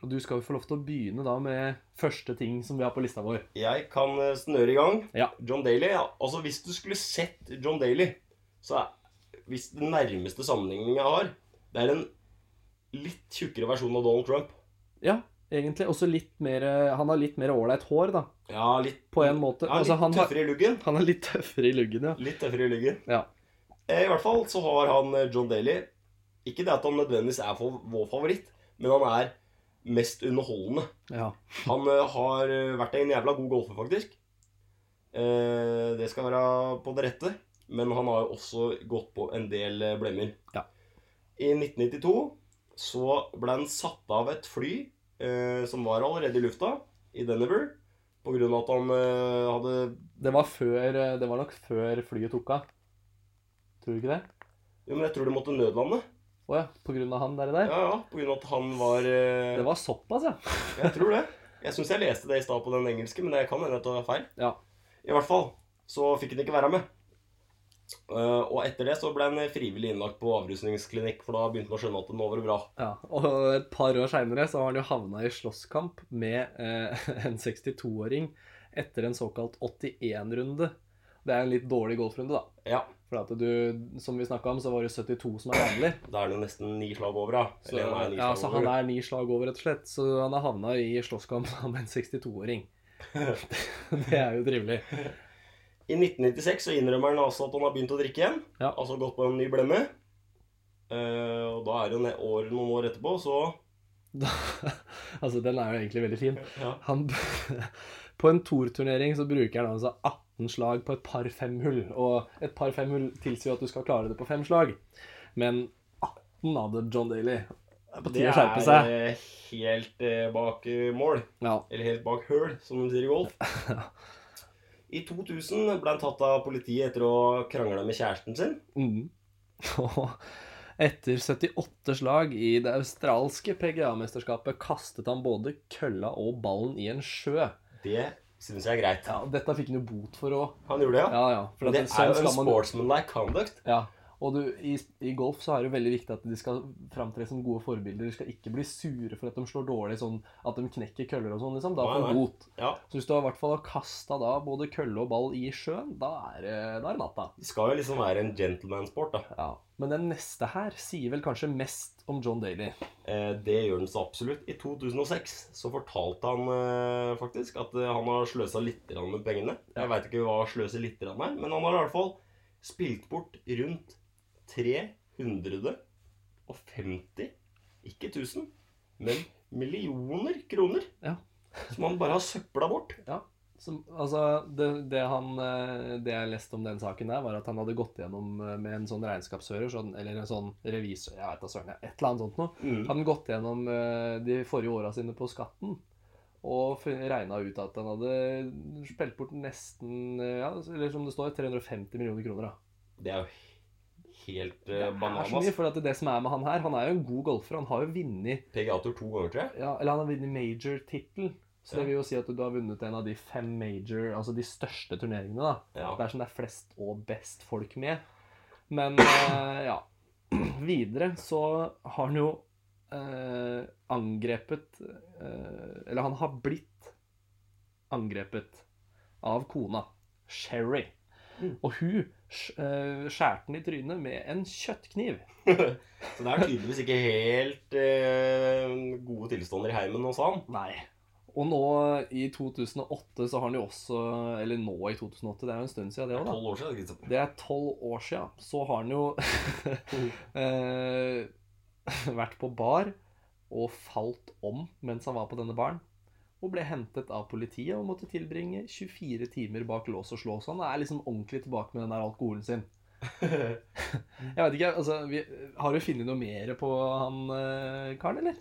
Speaker 3: Og du skal jo få lov til å begynne da med første ting som vi har på lista vår.
Speaker 2: Jeg kan eh, snøre i gang.
Speaker 3: Ja.
Speaker 2: John Daly. ja. Altså, hvis du skulle sett John Daly, så er hvis den nærmeste sammenligningen jeg har, det er en litt tjukkere versjon av Donald Trump.
Speaker 3: Ja, egentlig. Også litt mer eh, Han har litt mer ålreit hår, da.
Speaker 2: Ja, litt,
Speaker 3: På en måte.
Speaker 2: Ja, litt
Speaker 3: Altså, han har-
Speaker 2: tøffere i luggen.
Speaker 3: Han er litt tøffere i luggen, ja.
Speaker 2: Litt tøffere i luggen.
Speaker 3: Ja.
Speaker 2: Eh, I hvert fall så har han eh, John Daly Ikke det at han nødvendigvis er for vår favoritt, men han er mest underholdende.
Speaker 3: Ja.
Speaker 2: Han eh, har eh, vært en jævla god golfer, faktisk. Eh, det skal være på det rette. Men han har jo også gått på en del eh, blemmer.
Speaker 3: Ja.
Speaker 2: I 1992 så ble han satt av et fly eh, som var allerede i lufta, i Denver, på grunn av at han eh, hadde
Speaker 3: Det var, før, eh, det var nok før flyet tok av. Tror du ikke det?
Speaker 2: Jo, men jeg tror det måtte nødlande.
Speaker 3: Å ja, på grunn av han der og der?
Speaker 2: Ja, ja, på grunn av at han var eh,
Speaker 3: Det var såpass, ja.
Speaker 2: Jeg tror det. Jeg syns jeg leste det i stad på den engelske, men det kan hende jeg tar feil.
Speaker 3: Ja.
Speaker 2: I hvert fall så fikk han ikke være med. Eh, og etter det så ble han frivillig innlagt på avrusningsklinikk, for da begynte han å skjønne at nå var det bra.
Speaker 3: ja. Og et par år seinere så har han jo havna i slåsskamp med eh, en 62-åring etter en såkalt 81-runde. Det er en litt dårlig golfrunde, da.
Speaker 2: Ja,
Speaker 3: For at du, som vi snakka om, så var det 72 som er vanlig.
Speaker 2: da er det jo nesten ni slag over, da.
Speaker 3: Så,
Speaker 2: Eller nei, ni
Speaker 3: ja,
Speaker 2: slag
Speaker 3: så
Speaker 2: over.
Speaker 3: han er ni slag over, rett og slett. Så han har havna i slåsskamp med en 62-åring. Det er jo trivelig.
Speaker 2: I 1996 så innrømmer han altså at han har begynt å drikke igjen.
Speaker 3: Ja.
Speaker 2: Altså gått på en ny blemme. Eh, og da er det ne- år, noen år etterpå, så
Speaker 3: Da, altså, den er jo egentlig veldig fin.
Speaker 2: ja.
Speaker 3: Han, på en torturnering så bruker han altså 18 slag på et par femhull, og et par femhull tilsier jo at du skal klare det på fem slag. Men 18 av det, John Daly. Det er på tide å skjerpe seg.
Speaker 2: eh, helt eh, bak eh, mål.
Speaker 3: Ja.
Speaker 2: Eller helt bak høl, som de sier i golf. I 2000 ble han tatt av politiet etter å ha krangla med kjæresten sin.
Speaker 3: Mm. Og etter 78 slag i det australske PGA-mesterskapet kastet han både kølla og ballen i en sjø.
Speaker 2: Det syns jeg er greit.
Speaker 3: Ja, og Dette fikk han jo bot for òg.
Speaker 2: Han gjorde det, ja.
Speaker 3: Ja, ja. For
Speaker 2: Men
Speaker 3: at
Speaker 2: det
Speaker 3: sånn
Speaker 2: er jo en
Speaker 3: skal man-
Speaker 2: sportsmanlike conduct.
Speaker 3: Ja, og du, i, i golf så er det jo veldig viktig at de skal framtre som gode forbilder. De skal ikke bli sure for at de slår dårlig, sånn at de knekker køller og sånn. liksom. Da får
Speaker 2: Nei,
Speaker 3: de
Speaker 2: nei.
Speaker 3: bot.
Speaker 2: Ja,
Speaker 3: Så hvis du har i hvert fall har kasta da både kølle og ball i sjøen, da er, det- da er det natta.
Speaker 2: Det skal jo liksom være en gentleman-sport, da.
Speaker 3: Ja. Men den neste her sier vel kanskje mest om John Daly.
Speaker 2: Eh, Det gjør den så absolutt. I 2006 så fortalte han eh, faktisk at eh, han har sløsa litt grann med pengene. Jeg veit ikke hva sløse litt grann er, men han har i hvert fall spilt bort rundt 350 Ikke 1000, men millioner kroner.
Speaker 3: Ja.
Speaker 2: Som han bare har søpla bort.
Speaker 3: Som, altså, det, det, han, eh, det jeg leste om den saken der, var at han hadde gått gjennom eh, med en sånn regnskapsfører, sånn, eller en sånn revisor, jeg vet da søren, jeg, et eller annet sånt noe.
Speaker 2: Mm.
Speaker 3: hadde han gått gjennom eh, de forrige åra sine på skatten og regna ut at han hadde spilt bort nesten eh, ja, eller som det står, 350 millioner kroner. Da.
Speaker 2: Det er jo helt
Speaker 3: Det
Speaker 2: eh,
Speaker 3: er så mye,
Speaker 2: bananas.
Speaker 3: for at det som er med han her, han er jo en god golfer. Han har jo vunnet
Speaker 2: PGA-tur to ganger, tror jeg.
Speaker 3: ja, Eller han har vunnet major-tittel. Så
Speaker 2: Ja.
Speaker 3: det vil jo si at du har vunnet en av de fem major, altså de største turneringene. da.
Speaker 2: Ja.
Speaker 3: Det er som det er flest og best folk med. Men eh, ja. Videre så har han jo eh, angrepet eh, Eller han har blitt angrepet av kona, Sherry. Og hun sk- eh, skjærte han i trynet med en kjøttkniv.
Speaker 2: Så det er tydeligvis ikke helt eh, gode tilstander i heimen hos han.
Speaker 3: Nei. Og nå i 2008 så har han jo også Eller nå i 2008, det er jo en stund siden det òg, da.
Speaker 2: Tolv år siden. Liksom.
Speaker 3: Det er tolv år sia. Så har han jo eh, vært på bar og falt om mens han var på denne baren. Og ble hentet av politiet og måtte tilbringe 24 timer bak lås og slå. Så han er liksom ordentlig tilbake med den der alkoholen sin. Jeg vet ikke, altså, vi, Har du funnet noe mer på han eh, karen, eller?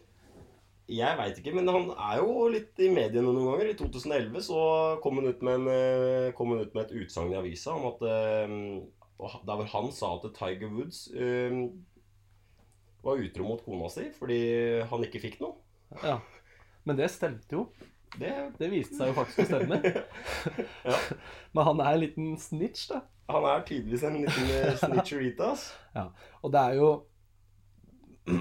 Speaker 2: Jeg veit ikke, men han er jo litt i mediene noen ganger. I 2011 så kom han ut med, en, eh, kom han ut med et utsagn i avisa om at eh, og ha- Der hvor han sa at Tiger Woods eh, var utro mot kona si fordi han ikke fikk noe.
Speaker 3: Ja. Men det stemte jo.
Speaker 2: Det,
Speaker 3: Det viste seg jo faktisk å stemme.
Speaker 2: Ja.
Speaker 3: Men han er en liten snitch, da.
Speaker 2: han er tydeligvis en liten eh, snitcherita. ass.
Speaker 3: Og det er jo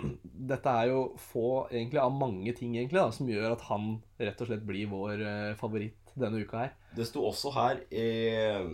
Speaker 3: dette er jo få egentlig av mange ting egentlig da, som gjør at han rett og slett blir vår eh, favoritt denne uka her.
Speaker 2: Det sto også her eh,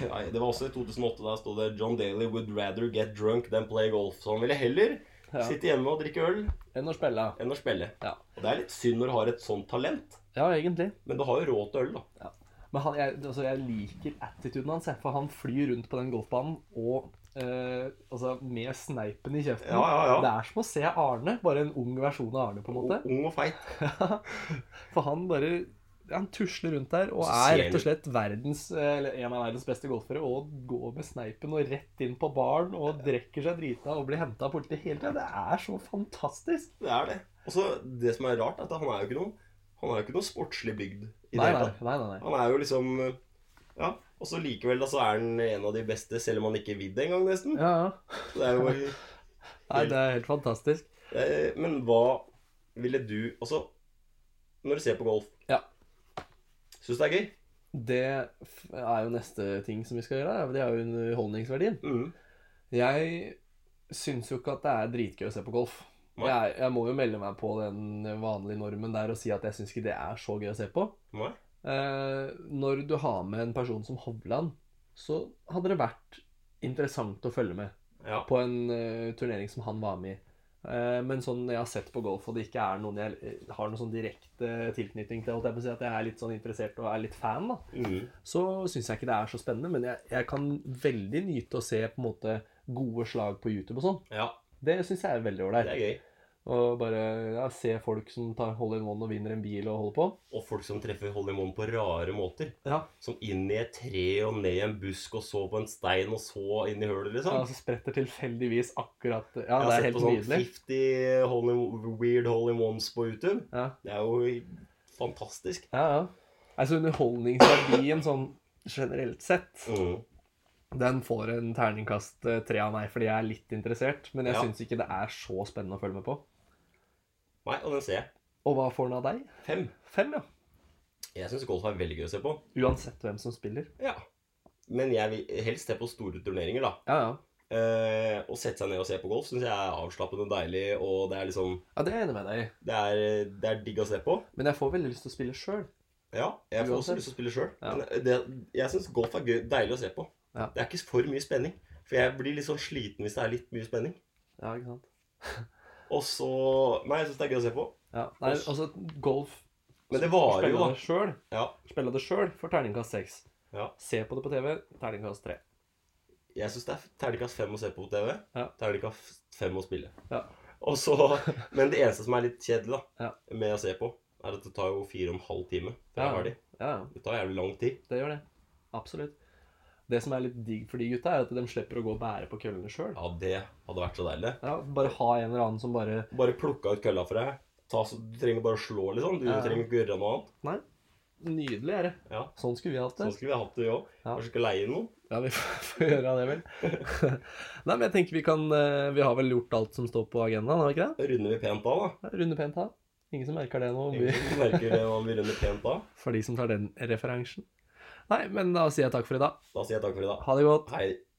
Speaker 2: Nei, det var også i 2008. Der sto det 'John Daly would rather get drunk than play golf'. Så han ville heller
Speaker 3: Ja.
Speaker 2: sitte hjemme og drikke øl
Speaker 3: Enn å spille.
Speaker 2: enn å spille.
Speaker 3: Ja.
Speaker 2: Og det er litt synd når du har et sånt talent,
Speaker 3: ja, egentlig.
Speaker 2: men du har jo råd til øl, da.
Speaker 3: Men han, jeg, altså, jeg liker attituden hans, jeg, for han flyr rundt på den golfbanen og eh, altså, med sneipen i kjeften.
Speaker 2: Ja, ja, ja.
Speaker 3: Det er som å se Arne, bare en ung versjon av Arne, på en måte.
Speaker 2: Ung og feit.
Speaker 3: For han bare han tusler rundt der og
Speaker 2: Så
Speaker 3: er
Speaker 2: ser
Speaker 3: rett
Speaker 2: du-
Speaker 3: og slett verdens, eh, eller en av verdens beste golfere. Og går med sneipen og rett inn på baren og drikker seg drita og blir henta av politiet hele tida. Det er så fantastisk!
Speaker 2: Det er det. Og så det som er rart, er at han er jo ikke noe Han er jo ikke noe sportslig bygd i det
Speaker 3: Nei,
Speaker 2: hele
Speaker 3: nei,
Speaker 2: tatt.
Speaker 3: nei. nei, nei.
Speaker 2: Han er jo liksom Ja. Og så likevel da, så er han en av de beste, selv om han ikke vil det engang, nesten.
Speaker 3: Ja, ja.
Speaker 2: Det er jo
Speaker 3: Nei, det er helt fantastisk.
Speaker 2: eh, Men hva ville du Altså, når du ser på golf
Speaker 3: Ja.
Speaker 2: Syns du det er gøy?
Speaker 3: Det f- er jo neste ting som vi skal gjøre. da. Det er jo underholdningsverdien.
Speaker 2: Mm.
Speaker 3: Jeg syns jo ikke at det er dritgøy å se på golf.
Speaker 2: Nei.
Speaker 3: Jeg, jeg må jo melde meg på den vanlige normen der og si at jeg syns ikke det er så gøy å se på.
Speaker 2: Nei?
Speaker 3: Eh, når du har med en person som Hovland, så hadde det vært interessant å følge med
Speaker 2: Ja.
Speaker 3: på en eh, turnering som han var med i. Eh, men sånn jeg har sett på golf, og det ikke er noen jeg eh, har noen sånn direkte tilknytning til, holdt jeg på å si at jeg er litt sånn interessert og er litt fan, da
Speaker 2: Mm.
Speaker 3: så syns jeg ikke det er så spennende. Men jeg, jeg kan veldig nyte å se på en måte gode slag på YouTube og sånn.
Speaker 2: ja.
Speaker 3: Det syns jeg er veldig
Speaker 2: Det
Speaker 3: ålreit.
Speaker 2: er gøy.
Speaker 3: Å bare ja, se folk som tar hold in one og vinner en bil og holder på.
Speaker 2: Og folk som treffer hole in one på rare måter.
Speaker 3: Ja,
Speaker 2: Som inn i et tre og ned i en busk og så på en stein og så inn i hølet, liksom.
Speaker 3: ja Så spretter tilfeldigvis akkurat Ja,
Speaker 2: Jeg
Speaker 3: det
Speaker 2: har
Speaker 3: er
Speaker 2: sett på
Speaker 3: helt
Speaker 2: sånn
Speaker 3: nydelig.
Speaker 2: 50 hole in, weird hole in ones på YouTube.
Speaker 3: Ja,
Speaker 2: Det er jo fantastisk.
Speaker 3: ja. ja. Altså underholdningsverdien sånn generelt sett,
Speaker 2: Mm.
Speaker 3: den får en terningkast eh, tre av meg fordi jeg er litt interessert. Men jeg
Speaker 2: Ja.
Speaker 3: syns ikke det er så spennende å følge med på.
Speaker 2: Nei, og den ser jeg.
Speaker 3: Og hva får den av deg?
Speaker 2: Fem.
Speaker 3: Fem, ja.
Speaker 2: Jeg syns golf er veldig gøy å se på.
Speaker 3: Uansett hvem som spiller.
Speaker 2: Ja. Men jeg vil helst se på store turneringer, da.
Speaker 3: Ja, ja.
Speaker 2: Eh, å sette seg ned og se på golf syns jeg er avslappende og deilig, og det er liksom
Speaker 3: Ja, det er jeg enig med deg i.
Speaker 2: Det er, det er digg å se på.
Speaker 3: Men jeg får veldig lyst til å spille sjøl.
Speaker 2: Ja, jeg får også
Speaker 3: Uansett.
Speaker 2: lyst til å spille sjøl.
Speaker 3: Ja.
Speaker 2: Men det- Jeg syns golf er gøy, deilig å se på.
Speaker 3: Ja.
Speaker 2: Det er ikke for mye spenning. For jeg blir litt sånn sliten hvis det er litt mye spenning.
Speaker 3: Ja, ikke sant?
Speaker 2: Og så Nei, jeg syns det er gøy å se på.
Speaker 3: Ja, Nei,
Speaker 2: Også-
Speaker 3: altså, golf
Speaker 2: Men det varer jo,
Speaker 3: Spille
Speaker 2: da.
Speaker 3: det sjøl.
Speaker 2: Ja.
Speaker 3: Spille det sjøl for terningkast seks.
Speaker 2: Ja.
Speaker 3: Se på det på TV, terningkast tre.
Speaker 2: Jeg syns det er terningkast fem å se på på TV.
Speaker 3: Ja.
Speaker 2: Terningkast fem å spille.
Speaker 3: Ja.
Speaker 2: Og så, men det eneste som er litt kjedelig da,
Speaker 3: Ja.
Speaker 2: med å se på, er at det tar jo fire og en halv time før jeg er ferdig.
Speaker 3: ja, ja.
Speaker 2: Det tar jævlig lang tid.
Speaker 3: Det gjør det. Absolutt. Det som er litt digg for de gutta, er at de slipper å gå og bære på køllene sjøl.
Speaker 2: Ja, det hadde vært så deilig.
Speaker 3: Ja, bare ha en eller annen som bare
Speaker 2: Bare plukka ut kølla for deg. Ta, så, du trenger bare å slå, liksom. Du
Speaker 3: Ja, ja.
Speaker 2: trenger ikke gjøre noe annet.
Speaker 3: Nei, nydelig er det.
Speaker 2: Ja.
Speaker 3: Sånn skulle vi hatt det.
Speaker 2: Sånn skulle vi hatt det, vi òg.
Speaker 3: Ja.
Speaker 2: Kanskje ikke leie noen.
Speaker 3: Ja, vi får får gjøre det, vel. Nei, men jeg tenker vi kan eh, Vi har vel gjort alt som står på agendaen, har vi ikke det?
Speaker 2: Da runder vi pent av, da.
Speaker 3: Ja, Runde pent av. Ingen som merker det nå. om vi-
Speaker 2: Ingen som merker det om vi runder pent av.
Speaker 3: For de som tar den referansen. Nei, men da sier jeg takk for i dag.
Speaker 2: Da sier jeg takk for i dag.
Speaker 3: Ha det godt.
Speaker 2: Hei.